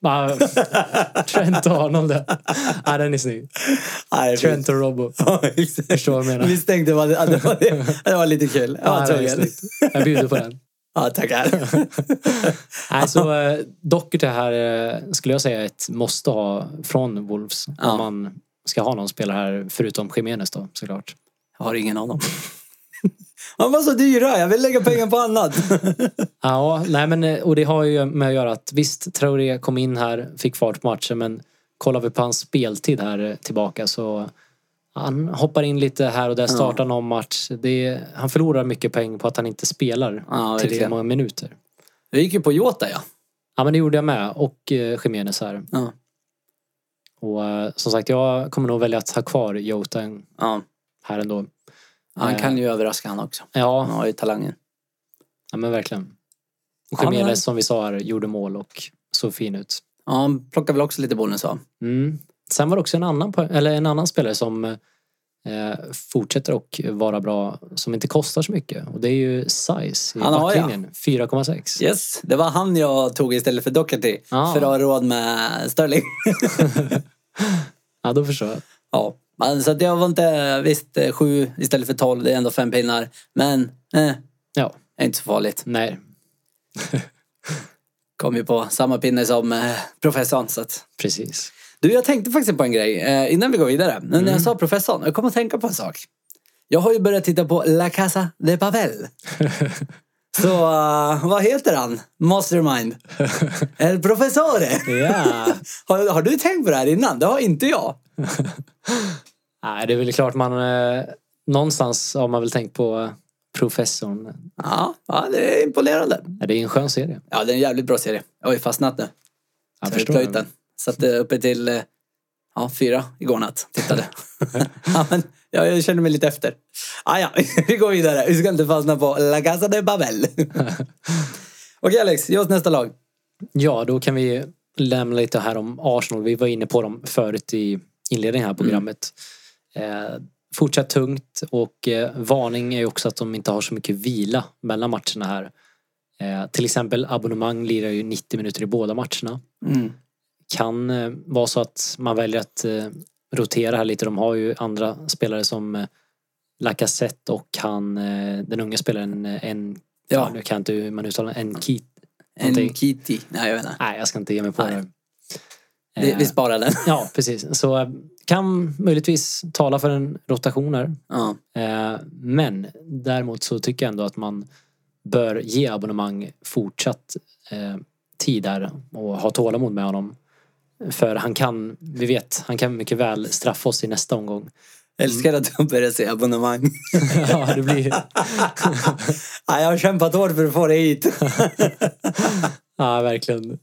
Speaker 2: Ah, Trent och Arnold. Ja, den är snygg.
Speaker 1: Nej,
Speaker 2: Trent och Robbo.
Speaker 1: Ja, exakt.
Speaker 2: Förstår vad jag menar.
Speaker 1: Vi stängde vad det, att det, var det. det var lite kul.
Speaker 2: Ja,
Speaker 1: Ja,
Speaker 2: den är
Speaker 1: tvungen.
Speaker 2: snygg. Jag bjuder på den.
Speaker 1: ja tackar.
Speaker 2: Nej, så eh, Doherty här eh, skulle jag säga är ett måste ha från Wolves.
Speaker 1: Ja.
Speaker 2: Om man ska ha någon spelare här förutom Jiménez då såklart.
Speaker 1: Jag har ingen aning. Han var så dyra, jag vill lägga pengar på annat.
Speaker 2: Ja, nej men eh, och det har ju med att göra att visst Traoré kom in här, fick fart på matchen men kollar vi på hans speltid här eh, tillbaka så han hoppar in lite här och där, startar någon match. Det är, han förlorar mycket poäng på att han inte spelar
Speaker 1: Ja,
Speaker 2: tillräckligt
Speaker 1: verkligen.
Speaker 2: många minuter.
Speaker 1: Jag gick ju på Jota ja.
Speaker 2: Ja men det gjorde jag med och eh, Jiménez här.
Speaker 1: Ja.
Speaker 2: Och eh, som sagt, jag kommer nog välja att ha kvar Jota en-
Speaker 1: ja.
Speaker 2: här ändå.
Speaker 1: Han kan ju överraska han också. Han
Speaker 2: Ja,
Speaker 1: har ju talangen.
Speaker 2: ja men verkligen. Och
Speaker 1: Ja, men-
Speaker 2: Jiménez som vi sa här gjorde mål och såg fin ut.
Speaker 1: Ja, han plockar väl också lite bonus va?
Speaker 2: Mm. Sen var det också en annan, po- eller en annan spelare som eh, fortsätter att vara bra, som inte kostar så mycket. Och det är ju Size i
Speaker 1: Han har jag.
Speaker 2: backlinjen. 4,6.
Speaker 1: Yes, det var han jag tog istället för Doherty.
Speaker 2: Ja.
Speaker 1: För att ha råd med Sterling.
Speaker 2: Ja, då förstår jag.
Speaker 1: ja. Men, så att jag var inte, visst eh, sju istället för tolv, det är ändå fem pinnar. Men, eh,
Speaker 2: Ja,
Speaker 1: är inte så farligt.
Speaker 2: nej.
Speaker 1: Kom ju på samma pinne som eh, professorn. Så att.
Speaker 2: Precis.
Speaker 1: Du, jag tänkte faktiskt på en grej eh, innan vi går vidare. Men När jag sa professorn, jag kom att tänka på en sak. Jag har ju börjat titta på La Casa de Papel. Så eh, vad heter han? Mastermind? El Professore?
Speaker 2: Ja.
Speaker 1: Har, har du tänkt på det här innan? Det har inte jag.
Speaker 2: Nej, det är väl klart man... Eh, någonstans har man väl tänkt på eh, professorn.
Speaker 1: Ja, ja det är imponerande.
Speaker 2: Ja, det är en skön serie.
Speaker 1: Ja, det är en jävligt bra serie. Jag har ju fastnat nu.
Speaker 2: Jag
Speaker 1: för
Speaker 2: förstår
Speaker 1: flöjten. Satt eh, uppe till eh, ja, fyra igår natt. Tittade. ja, men jag, jag känner mig lite efter. Ah, ja, vi går vidare. Vi ska inte fastna på La Casa de Babel. Okej Alex, ge oss nästa lag.
Speaker 2: Ja, då kan vi lämna lite här om Arsenal. Vi var inne på dem förut i inledningen här på
Speaker 1: Mm.
Speaker 2: programmet. Eh, fortsatt tungt och eh, varning är ju också att de inte har så mycket vila mellan matcherna här. Eh, till exempel abonnemang lirar ju 90 minuter i båda matcherna.
Speaker 1: Mm.
Speaker 2: Kan eh, vara så att man väljer att eh, rotera här lite. De har ju andra spelare som eh, Lacazette och han, eh, den unga spelaren eh, en,
Speaker 1: Ja.
Speaker 2: ja. nu kan jag inte hur man uttalar en Keat.
Speaker 1: En Kitty. Nej, jag vet inte.
Speaker 2: Nej, jag ska inte ge mig på
Speaker 1: Nej.
Speaker 2: det.
Speaker 1: Vi,
Speaker 2: Eh,
Speaker 1: vi sparar den.
Speaker 2: Ja, precis. Så eh, kan möjligtvis tala för en rotation här.
Speaker 1: Ja.
Speaker 2: Eh, Men däremot så tycker jag ändå att man bör ge abonnemang fortsatt eh, tid där och ha tålamod med honom. För han kan, vi vet, han kan mycket väl straffa oss i nästa omgång.
Speaker 1: Älskar att de börjar säga abonnemang.
Speaker 2: ja, det blir,
Speaker 1: ja, jag har kämpat hårt för att få dig hit.
Speaker 2: ja, verkligen.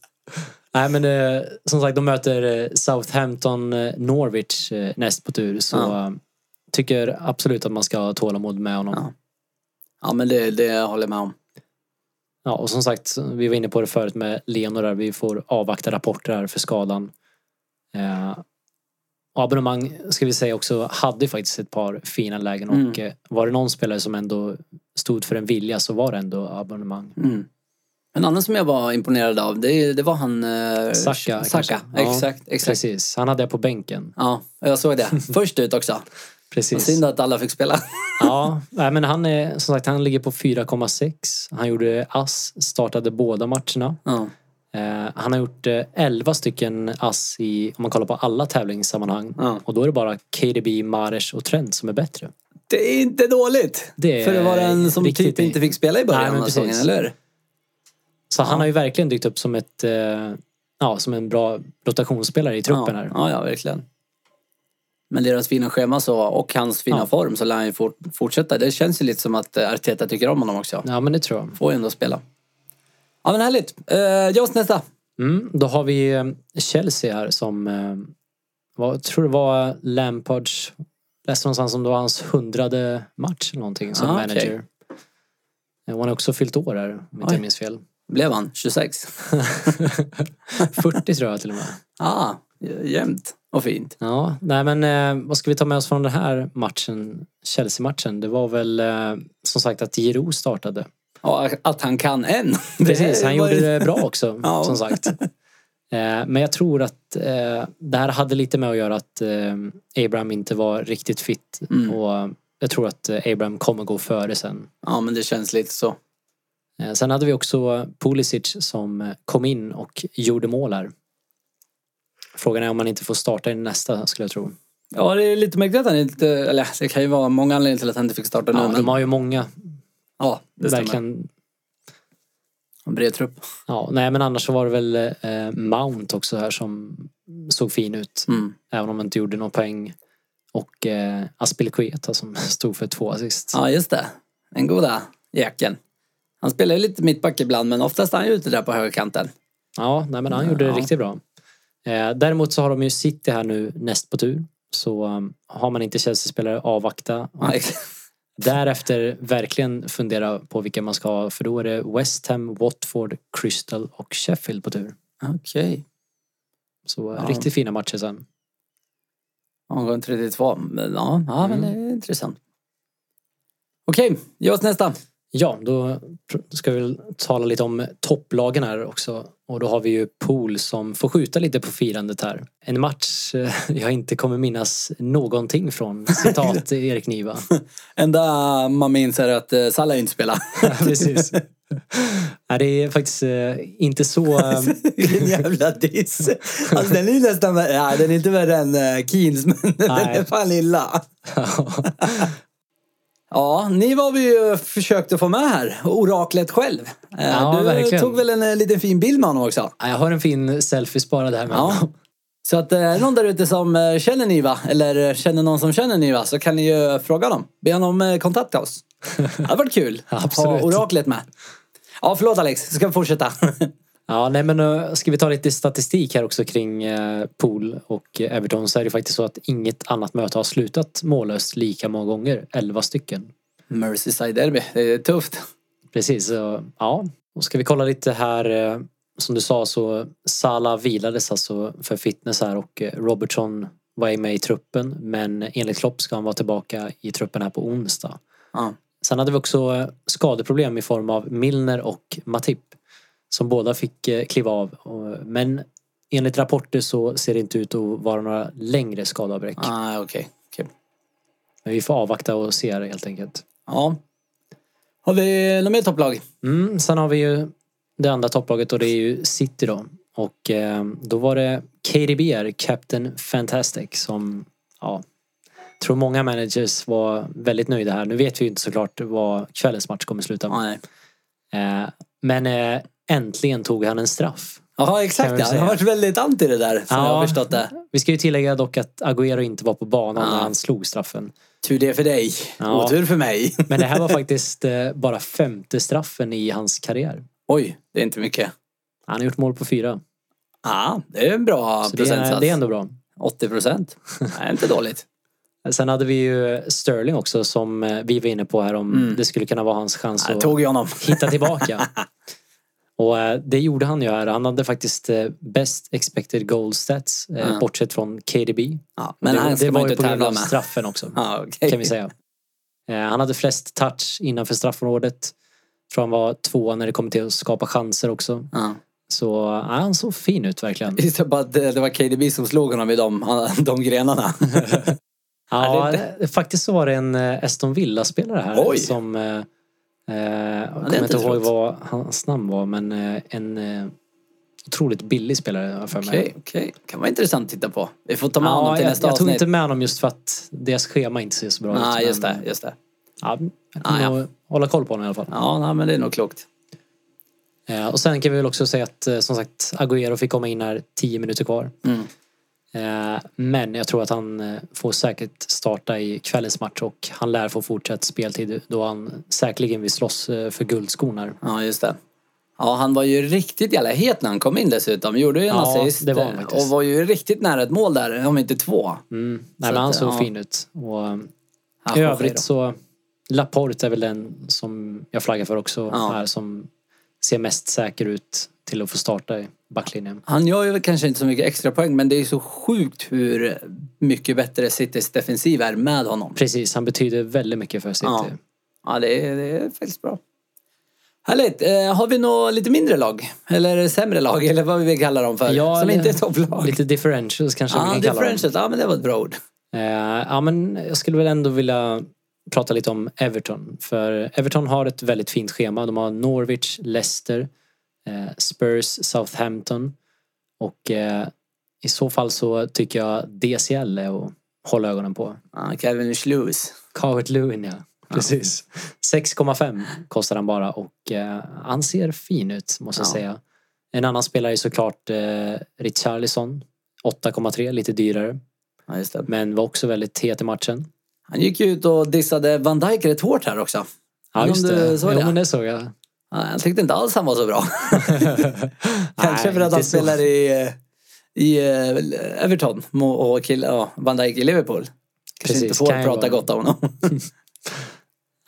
Speaker 2: Nej men eh, som sagt, de möter eh, Southampton eh, Norwich eh, näst på tur. Så
Speaker 1: Ja.
Speaker 2: eh, tycker absolut att man ska ha tålamod med honom.
Speaker 1: Ja. Ja, men det, det håller jag med om.
Speaker 2: Ja, och som sagt, vi var inne på det förut med Leonor där. Vi får avvakta rapporter här för skadan. Eh, och abonnemang, ska vi säga också, hade ju faktiskt ett par fina lägen
Speaker 1: Mm.
Speaker 2: och eh, var det någon spelare som ändå stod för en vilja så var det ändå abonnemang.
Speaker 1: Mm. En annan som jag var imponerad av, det, det var han... Eh,
Speaker 2: Saka,
Speaker 1: Saka.
Speaker 2: kanske. Ja,
Speaker 1: Exakt, exakt.
Speaker 2: Precis, han hade jag på bänken.
Speaker 1: Ja, jag såg det. Först ut också. Vad
Speaker 2: Precis.
Speaker 1: synd att alla fick spela.
Speaker 2: Ja, nej, men han är, som sagt, han ligger på 4,6. Han gjorde ass, startade båda matcherna.
Speaker 1: Ja.
Speaker 2: Eh, han har gjort eh, 11 stycken ass i, om man kollar på alla tävlingssammanhang.
Speaker 1: Ja.
Speaker 2: Och då är det bara KDB, Mares och Trent som är bättre.
Speaker 1: Det är inte dåligt.
Speaker 2: Det är
Speaker 1: För det var en som
Speaker 2: riktigt
Speaker 1: typ inte fick spela i
Speaker 2: Nej,
Speaker 1: början
Speaker 2: men
Speaker 1: av säsongen,
Speaker 2: precis.
Speaker 1: eller hur?
Speaker 2: Så
Speaker 1: Ja.
Speaker 2: han har ju verkligen dykt upp som ett eh, ja, som en bra rotationsspelare i
Speaker 1: ja.
Speaker 2: truppen här.
Speaker 1: Ja, ja, verkligen. Men deras fina schema så, och hans fina
Speaker 2: Ja.
Speaker 1: form så lär han ju fort, fortsätta. Det känns ju lite som att eh, Arteta tycker om honom också.
Speaker 2: Ja, men det tror jag.
Speaker 1: Får ju ändå spela. Ja men härligt. Uh, Joss nästa.
Speaker 2: Mm, då har vi eh, Chelsea här som, eh, vad, jag tror det var Lampards, läste någonstans om det var hans hundrade match eller någonting som
Speaker 1: Ah, okej.
Speaker 2: manager. Eh, Och han har också fyllt år här, om inte
Speaker 1: Oj.
Speaker 2: jag minns fel.
Speaker 1: Blev han 26?
Speaker 2: 40 tror jag till och med.
Speaker 1: ah, jämnt och fint.
Speaker 2: Ja, nej men eh, vad ska vi ta med oss från den här matchen, Chelsea-matchen? Det var väl eh, som sagt att Giroud startade.
Speaker 1: Ja, att han kan än. Det
Speaker 2: Precis, han
Speaker 1: var ju-
Speaker 2: gjorde det bra också
Speaker 1: Eh, Ja.
Speaker 2: som sagt. Eh, Men jag tror att eh, det här hade lite med att göra att eh, Abraham inte var riktigt fit.
Speaker 1: Mm.
Speaker 2: Och jag tror att eh, Abraham kommer gå före sen.
Speaker 1: Ja men det känns lite så.
Speaker 2: Eh, Sen hade vi också Pulisic som eh, kom in och gjorde mål här. Frågan är om man inte får starta i nästa skulle jag tro.
Speaker 1: Ja, det är lite märkligt att han inte... Eller det kan ju vara många anledningar till att han inte fick starta nu.
Speaker 2: Ja,
Speaker 1: men,
Speaker 2: de har ju många
Speaker 1: ja det stämmer.
Speaker 2: verkligen
Speaker 1: En bred trupp.
Speaker 2: Ja, nej men annars så var det väl eh, Mount också här som såg fin ut.
Speaker 1: Mm.
Speaker 2: Även om han inte gjorde någon poäng. Och eh, Aspilicueta som stod för två assist.
Speaker 1: Ja, just det. Den goda jäkeln. Han spelar ju lite mittback ibland, men oftast är han ju ute där på högerkanten.
Speaker 2: Ja, nej men han gjorde det
Speaker 1: Ja.
Speaker 2: riktigt bra. Eh, däremot så har de ju City här nu näst på tur. Så um, har man inte Chelsea-spelare, avvakta.
Speaker 1: Ja, ex-
Speaker 2: Därefter verkligen fundera på vilka man ska ha. För då är det West Ham, Watford, Crystal och Sheffield på tur.
Speaker 1: Okej.
Speaker 2: Så eh,
Speaker 1: Ja.
Speaker 2: riktigt fina matcher sen.
Speaker 1: Omgång 32. Men, ja, ja
Speaker 2: Mm.
Speaker 1: men det är intressant. Okej, ge oss nästa.
Speaker 2: Ja, då pr- ska vi väl tala lite om topplagen här också. Och då har vi ju Pool som får skjuta lite på firandet här. En match eh, jag inte kommer minnas någonting från. Citat Erik Niva.
Speaker 1: Enda man minns är att eh, Salah inte spelar.
Speaker 2: Precis. Nej, det är faktiskt eh, inte så... eh,
Speaker 1: Vilken jävla diss. Alltså den är ju nästan värre. Ja, den är inte värre än eh, Keens men den är
Speaker 2: Nej.
Speaker 1: fan illa. Ja, ni var vi ju försökte få med här. Oraklet själv. Eh,
Speaker 2: Ja,
Speaker 1: du
Speaker 2: verkligen.
Speaker 1: tog väl en eh, liten fin bild med honom också?
Speaker 2: Ja, jag har en fin selfie sparad här med
Speaker 1: Ja. Så att eh, är det någon där ute som eh, känner Niva eller eh, känner någon som känner Niva så kan ni ju eh, fråga dem. Be honom eh, kontakta oss. Det hade varit kul.
Speaker 2: Ja, absolut.
Speaker 1: Ha oraklet med. Ja, förlåt Alex. Ska vi fortsätta?
Speaker 2: Ja, nej men eh, ska vi ta lite statistik här också kring eh, Pool och eh, Everton så är det faktiskt så att inget annat möte har slutat mållöst lika många gånger, 11 stycken.
Speaker 1: Merseyside Derby. Det är tufft.
Speaker 2: Precis, så, ja. Och ska vi kolla lite här, eh, som du sa så Salah vilades alltså för fitness här och eh, Robertson var ju med i truppen men enligt Klopp ska han vara tillbaka i truppen här på onsdag.
Speaker 1: Ja.
Speaker 2: Sen hade vi också eh, skadeproblem i form av Milner och Matip. Som båda fick eh, kliva av. Och- Men enligt rapporter så ser det inte ut att vara några längre skadeavbräck.
Speaker 1: Ah, Okej, kul.
Speaker 2: Men vi får avvakta och se här helt enkelt.
Speaker 1: Ja. Har vi något mer topplag?
Speaker 2: Mm, sen har vi ju det andra topplaget och det är ju City då. Och eh, då var det KDBR, Captain Fantastic, som ja, tror många managers var väldigt nöjda här. Nu vet vi ju inte såklart vad kvällens match kommer sluta med.
Speaker 1: Nej.
Speaker 2: Eh, men eh, äntligen tog han en straff.
Speaker 1: Jaha,
Speaker 2: Kan
Speaker 1: exakt
Speaker 2: vi
Speaker 1: ja. Jag
Speaker 2: säga.
Speaker 1: har varit väldigt anti det där, som
Speaker 2: Ja.
Speaker 1: jag har förstått det.
Speaker 2: Vi ska ju tillägga dock att Agüero inte var på banan
Speaker 1: Ja.
Speaker 2: när han slog straffen.
Speaker 1: Tur det för dig.
Speaker 2: Ja.
Speaker 1: Otur för mig.
Speaker 2: Men det här var faktiskt eh, bara femte straffen i hans karriär.
Speaker 1: Oj, det är inte mycket.
Speaker 2: Han har gjort mål på fyra.
Speaker 1: Ja, det är en bra
Speaker 2: Så det
Speaker 1: procentsats.
Speaker 2: är, det är ändå bra.
Speaker 1: 80 procent. Nej, inte dåligt.
Speaker 2: Sen hade vi ju Sterling också som eh, vi var inne på här om det skulle kunna vara hans chans
Speaker 1: Jag
Speaker 2: att
Speaker 1: Mm. tog ju honom.
Speaker 2: hitta tillbaka. Och eh, det gjorde han ju här. Han hade faktiskt eh, best expected goal stats eh,
Speaker 1: Ja.
Speaker 2: bortsett från KDB.
Speaker 1: Ja, men
Speaker 2: det,
Speaker 1: han
Speaker 2: det
Speaker 1: ska man
Speaker 2: var
Speaker 1: ju
Speaker 2: ju på
Speaker 1: inte
Speaker 2: grund
Speaker 1: tävla
Speaker 2: av
Speaker 1: med.
Speaker 2: straffen också.
Speaker 1: Ja, okej.
Speaker 2: kan vi säga. Eh, Han hade flest touch innanför straffområdet. Tror han var tvåa när det kommer till att skapa chanser också.
Speaker 1: Ja.
Speaker 2: Så ja, han såg fin ut verkligen.
Speaker 1: Just det, bara att det det var KDB som slog honom i de, de grenarna.
Speaker 2: Ja,
Speaker 1: det är
Speaker 2: eh, faktiskt så var det en eh, Aston Villa-spelare här
Speaker 1: Oj.
Speaker 2: som... Eh, eh, jag
Speaker 1: är
Speaker 2: kommer inte
Speaker 1: inte
Speaker 2: ihåg
Speaker 1: trott.
Speaker 2: vad hans namn var men eh, en eh, otroligt billig spelare har jag för mig.
Speaker 1: Okej, okej. kan vara intressant att titta på. Vi får ta med honom
Speaker 2: Ja,
Speaker 1: till
Speaker 2: jag,
Speaker 1: nästa
Speaker 2: jag tog
Speaker 1: avsnitt.
Speaker 2: inte med honom just för att deras schema inte ser så bra ut.
Speaker 1: Nej, just
Speaker 2: men,
Speaker 1: det. Just det.
Speaker 2: Ja, jag
Speaker 1: Ah, ja.
Speaker 2: kommer nog hålla koll på honom i alla fall.
Speaker 1: Ja, nej, men det är nog klokt.
Speaker 2: Eh, och sen kan vi väl också säga att eh, som sagt Agüero fick komma in här 10 minuter kvar.
Speaker 1: Mm.
Speaker 2: Eh, men jag tror att han eh, får säkert starta i kvällens match och han lär få fortsatt speltid då han säkerligen vill slåss eh, för guldskon här.
Speaker 1: Ja, just det. Ja, han var ju riktigt jävla het när han kom in dessutom. Gjorde ju en
Speaker 2: Ja,
Speaker 1: assist.
Speaker 2: det var han
Speaker 1: eh,
Speaker 2: faktiskt.
Speaker 1: och var ju riktigt nära ett mål där, om inte två. Så
Speaker 2: Mm. Nej, men han
Speaker 1: att,
Speaker 2: såg
Speaker 1: ja.
Speaker 2: fin ut. Och, eh,
Speaker 1: Ja,
Speaker 2: I
Speaker 1: Jorge
Speaker 2: övrigt
Speaker 1: då.
Speaker 2: så Laporte är väl den som jag flaggar för också
Speaker 1: Ja.
Speaker 2: här som ser mest säker ut till att få starta i backlinjen.
Speaker 1: Han gör ju kanske inte så mycket extra poäng men det är ju så sjukt hur mycket bättre Citys defensiv är med honom.
Speaker 2: Precis, han betyder väldigt mycket för City.
Speaker 1: Ja. Ja, det är, det är faktiskt bra. Härligt. Eh, har vi något lite mindre lag? Eller sämre lag, eller vad vi vill kalla dem för.
Speaker 2: Ja,
Speaker 1: som
Speaker 2: eller-
Speaker 1: inte är topplag.
Speaker 2: Lite differentials kanske vi
Speaker 1: Ja,
Speaker 2: kan kalla dem.
Speaker 1: differentials. Ja, men det var ett bra ord.
Speaker 2: Eh, ja, men jag skulle väl ändå vilja prata lite om Everton. För Everton har ett väldigt fint schema. De har Norwich, Leicester, eh, Spurs, Southampton. Och eh, i så fall så tycker jag DCL är att hålla ögonen på.
Speaker 1: Ja, Calvin Schlues.
Speaker 2: Calvert Lewin, ja. Precis. 6,5 kostar han bara och eh, han ser fin ut måste jag
Speaker 1: Ja.
Speaker 2: säga. En annan spelare är såklart eh, Richarlison. 8,3, lite dyrare.
Speaker 1: Ja, just det.
Speaker 2: Men var också väldigt het i matchen.
Speaker 1: Han gick ju ut och dissade Van Dijk rätt hårt här också.
Speaker 2: Ja,
Speaker 1: Men
Speaker 2: just
Speaker 1: om du
Speaker 2: det.
Speaker 1: såg
Speaker 2: jo,
Speaker 1: det?
Speaker 2: men det såg jag.
Speaker 1: Ja, han tyckte inte alls han var så bra. Kanske
Speaker 2: Nej,
Speaker 1: för att
Speaker 2: inte
Speaker 1: han
Speaker 2: så.
Speaker 1: spelar i, eh, i eh, Everton Mo- och kill, ja, Van Dijk i Liverpool. Kanske
Speaker 2: Precis,
Speaker 1: inte får
Speaker 2: kan ju
Speaker 1: prata
Speaker 2: vara.
Speaker 1: gott om honom.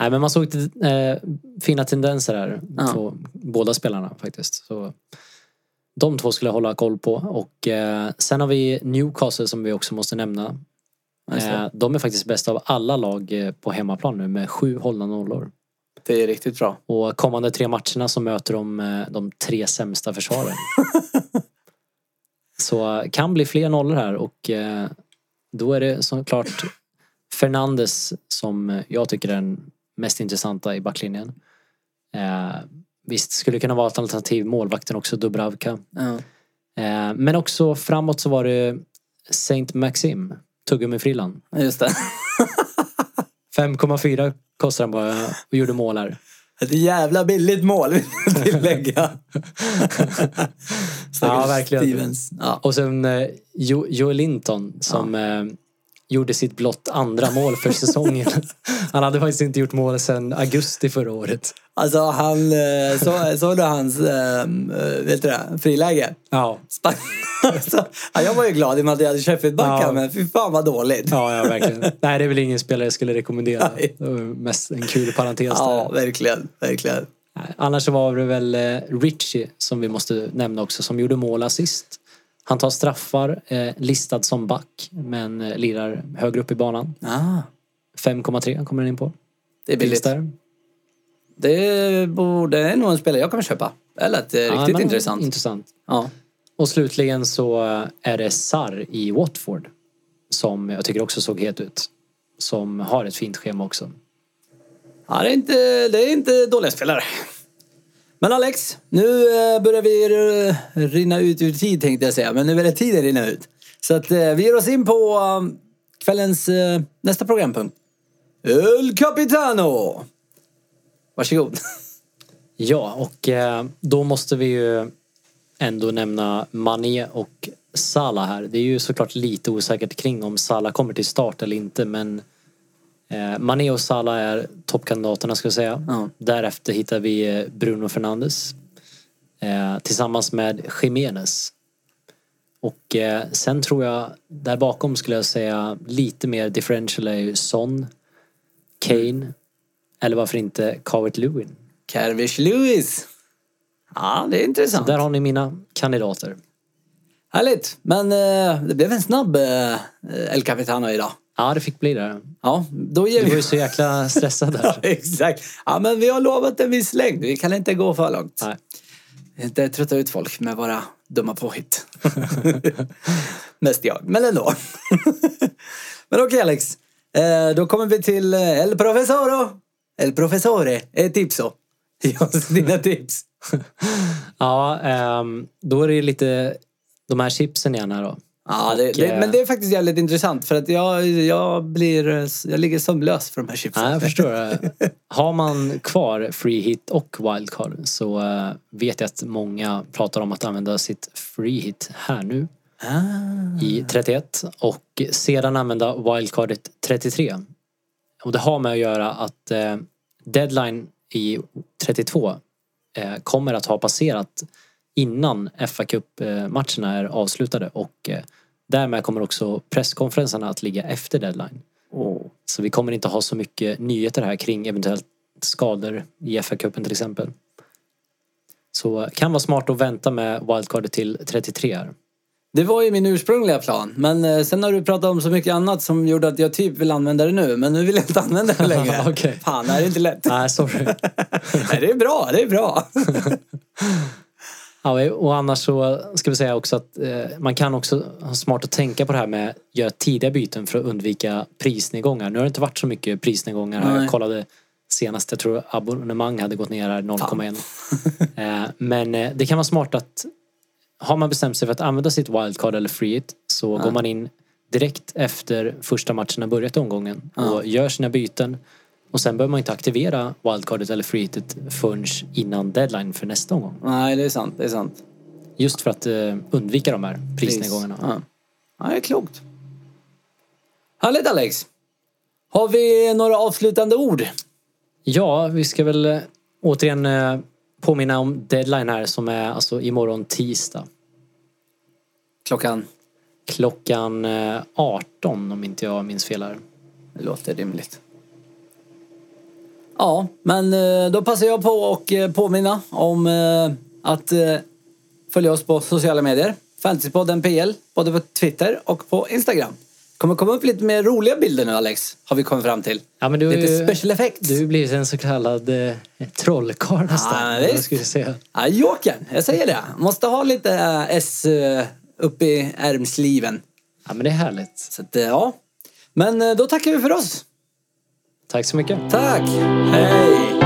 Speaker 2: Nej, men man såg eh, fina tendenser här
Speaker 1: Ja.
Speaker 2: på båda spelarna faktiskt. Så de två skulle jag hålla koll på. Och eh, sen har vi Newcastle som vi också måste nämna.
Speaker 1: Just det.
Speaker 2: Eh, de är faktiskt bäst av alla lag eh, på hemmaplan nu med sju hållna nollor.
Speaker 1: Det är riktigt bra.
Speaker 2: Och kommande tre matcherna så möter de eh, de tre sämsta försvaren. så eh, kan bli fler nollor här och eh, då är det såklart Fernandes som eh, jag tycker är den mest intressanta i backlinjen. Eh, Visst, skulle kunna vara ett alternativ målvakten också, Dubravka.
Speaker 1: Ja.
Speaker 2: Eh, men också framåt så var det Saint Maxim, Tuggummi-frillan.
Speaker 1: Just det.
Speaker 2: 5,4 kostade han bara och gjorde mål här.
Speaker 1: Ett jävla billigt mål vill jag tillägga.
Speaker 2: Ja, verkligen.
Speaker 1: Stevens. Ja.
Speaker 2: Och sen eh, jo, Joel Linton som eh, gjorde sitt blott andra mål för säsongen. han hade faktiskt inte gjort mål sedan augusti förra året.
Speaker 1: Alltså han, eh, så, såg du hans, eh, eh, vet du det, friläge?
Speaker 2: Ja,
Speaker 1: Spann- alltså, ja, jag var ju glad i och med att jag hade Sheffield-backar
Speaker 2: Ja.
Speaker 1: men fy fan vad dåligt.
Speaker 2: ja, ja verkligen. Nej, det är väl ingen spelare jag skulle rekommendera.
Speaker 1: Nej.
Speaker 2: Det var mest en kul parentes
Speaker 1: Ja,
Speaker 2: där.
Speaker 1: verkligen, verkligen.
Speaker 2: Nej, Annars så var det väl eh, Richie som vi måste nämna också som gjorde mål och assist. Han tar straffar, eh, listad som back, men eh, lirar högre upp i banan.
Speaker 1: Ah,
Speaker 2: 5,3 kommer den in på.
Speaker 1: det är
Speaker 2: Finns
Speaker 1: billigt.
Speaker 2: där.
Speaker 1: Det borde det är nog en spelare jag kommer köpa. Det lät eh,
Speaker 2: Ja,
Speaker 1: riktigt
Speaker 2: men
Speaker 1: intressant.
Speaker 2: intressant.
Speaker 1: ja.
Speaker 2: Och slutligen så är det Sarr i Watford. Som jag tycker också såg het ut. Som har ett fint schema också.
Speaker 1: Ja, det är inte, det är inte dåliga spelare. Men Alex, nu eh, börjar vi eh, rinna ut ur tid tänkte jag säga. Men nu är det tiden rinna ut. Så att eh, vi ger oss in på eh, kvällens eh, nästa programpunkt. El Capitano! Varsågod.
Speaker 2: Ja, och eh, då måste vi ju ändå nämna Mané och Salah här. Det är ju såklart lite osäkert kring om Salah kommer till start eller inte men eh, Mané och Salah är toppkandidaterna ska jag säga.
Speaker 1: Ja.
Speaker 2: Därefter hittar vi eh, Bruno Fernandes eh, tillsammans med Jiménez. Och eh, sen tror jag, där bakom skulle jag säga lite mer differential är ju Son, Kane eller varför inte Calvert-Lewin.
Speaker 1: Kervish Lewis. Ja, det är intressant.
Speaker 2: Där har ni mina kandidater.
Speaker 1: Härligt. Men eh, det blev en snabb eh, El Capitano idag.
Speaker 2: Ja, det fick bli det.
Speaker 1: Ja, då ger
Speaker 2: Du var
Speaker 1: vi...
Speaker 2: ju så jäkla stressad där.
Speaker 1: Exakt. Ja, men vi har lovat en viss längd. Vi kan inte gå för långt.
Speaker 2: Nej.
Speaker 1: inte trötta ut folk med våra dumma påhitt. Mest jag, men ändå. men okej Alex, eh, då kommer vi till eh, El Professoro. El Professore, eh, tipso. Ge oss dina tips.
Speaker 2: Ja, ehm, då är det ju lite de här chipsen igen här då.
Speaker 1: Ja, det,
Speaker 2: Och, eh,
Speaker 1: det, men det är faktiskt jävligt intressant för att jag, jag, blir, eh, jag ligger sömnlös för de här chipsen.
Speaker 2: Ja, jag förstår. det. typ Har man kvar free hit och wildcard så eh, vet jag att många pratar om att använda sitt free hit här nu
Speaker 1: Ah,
Speaker 2: i 31 och sedan använda wildcardet 33. Och det har med att göra att eh, deadline i 32 eh, kommer att ha passerat innan FA Cup-matcherna eh, är avslutade och eh, därmed kommer också presskonferenserna att ligga efter deadline. Så vi kommer inte ha så mycket nyheter här kring eventuellt skador i FA-cupen till exempel. Så eh, kan vara smart att vänta med wildcardet till 33 här.
Speaker 1: Det var ju min ursprungliga plan, men eh, sen har du pratat om så mycket annat som gjorde att jag typ vill använda det nu, men nu vill jag inte använda det längre.
Speaker 2: Okej.
Speaker 1: Fan, det här är inte lätt.
Speaker 2: Nej, sorry.
Speaker 1: Nej, det är bra, det är bra.
Speaker 2: Ja, och annars så ska vi säga också att eh, man kan också ha smart att tänka på det här med att göra tidiga byten för att undvika prisnedgångar. Nu har det inte varit så mycket prisnedgångar här.
Speaker 1: Nej.
Speaker 2: Jag kollade senast, jag tror abonnemang hade gått ner här 0,1. eh, men eh, det kan vara smart att har man bestämt sig för att använda sitt wildcard eller free hit så går man in direkt efter första matchen har börjat i omgången och gör sina byten. Och sen behöver man inte aktivera wildcardet eller free hitet förrän innan deadline för nästa omgång.
Speaker 1: Nej, det är sant, det är sant.
Speaker 2: Just för att eh, undvika de här
Speaker 1: Pris.
Speaker 2: prisnedgångarna.
Speaker 1: Ja. ja, det är klokt. Härligt Alex. Har vi några avslutande ord?
Speaker 2: Ja, vi ska väl eh, återigen eh, påminna om deadline här som är alltså imorgon tisdag.
Speaker 1: Klockan
Speaker 2: Klockan eh, 18 om inte jag minns fel här.
Speaker 1: det låter rimligt. Ja, men eh, då passar jag på och eh, påminna om eh, att eh, följa oss på sociala medier. Fantasypodden PL, både på Twitter och på Instagram. kommer komma upp lite mer roliga bilder nu Alex, har vi kommit fram till.
Speaker 2: Ja, men du, har
Speaker 1: Lite
Speaker 2: ju-
Speaker 1: special effects.
Speaker 2: Du har blivit en så kallad eh, trollkarl nästan.
Speaker 1: Ja,
Speaker 2: eller vad
Speaker 1: visst.
Speaker 2: ska vi säga.
Speaker 1: Ja, jokern, jag säger det. Måste ha lite eh, S eh, upp i ärmsliven.
Speaker 2: Ja, men det är härligt.
Speaker 1: Så att, eh, ja. Men eh, då tackar vi för oss.
Speaker 2: Tack så mycket.
Speaker 1: Tack! Hej!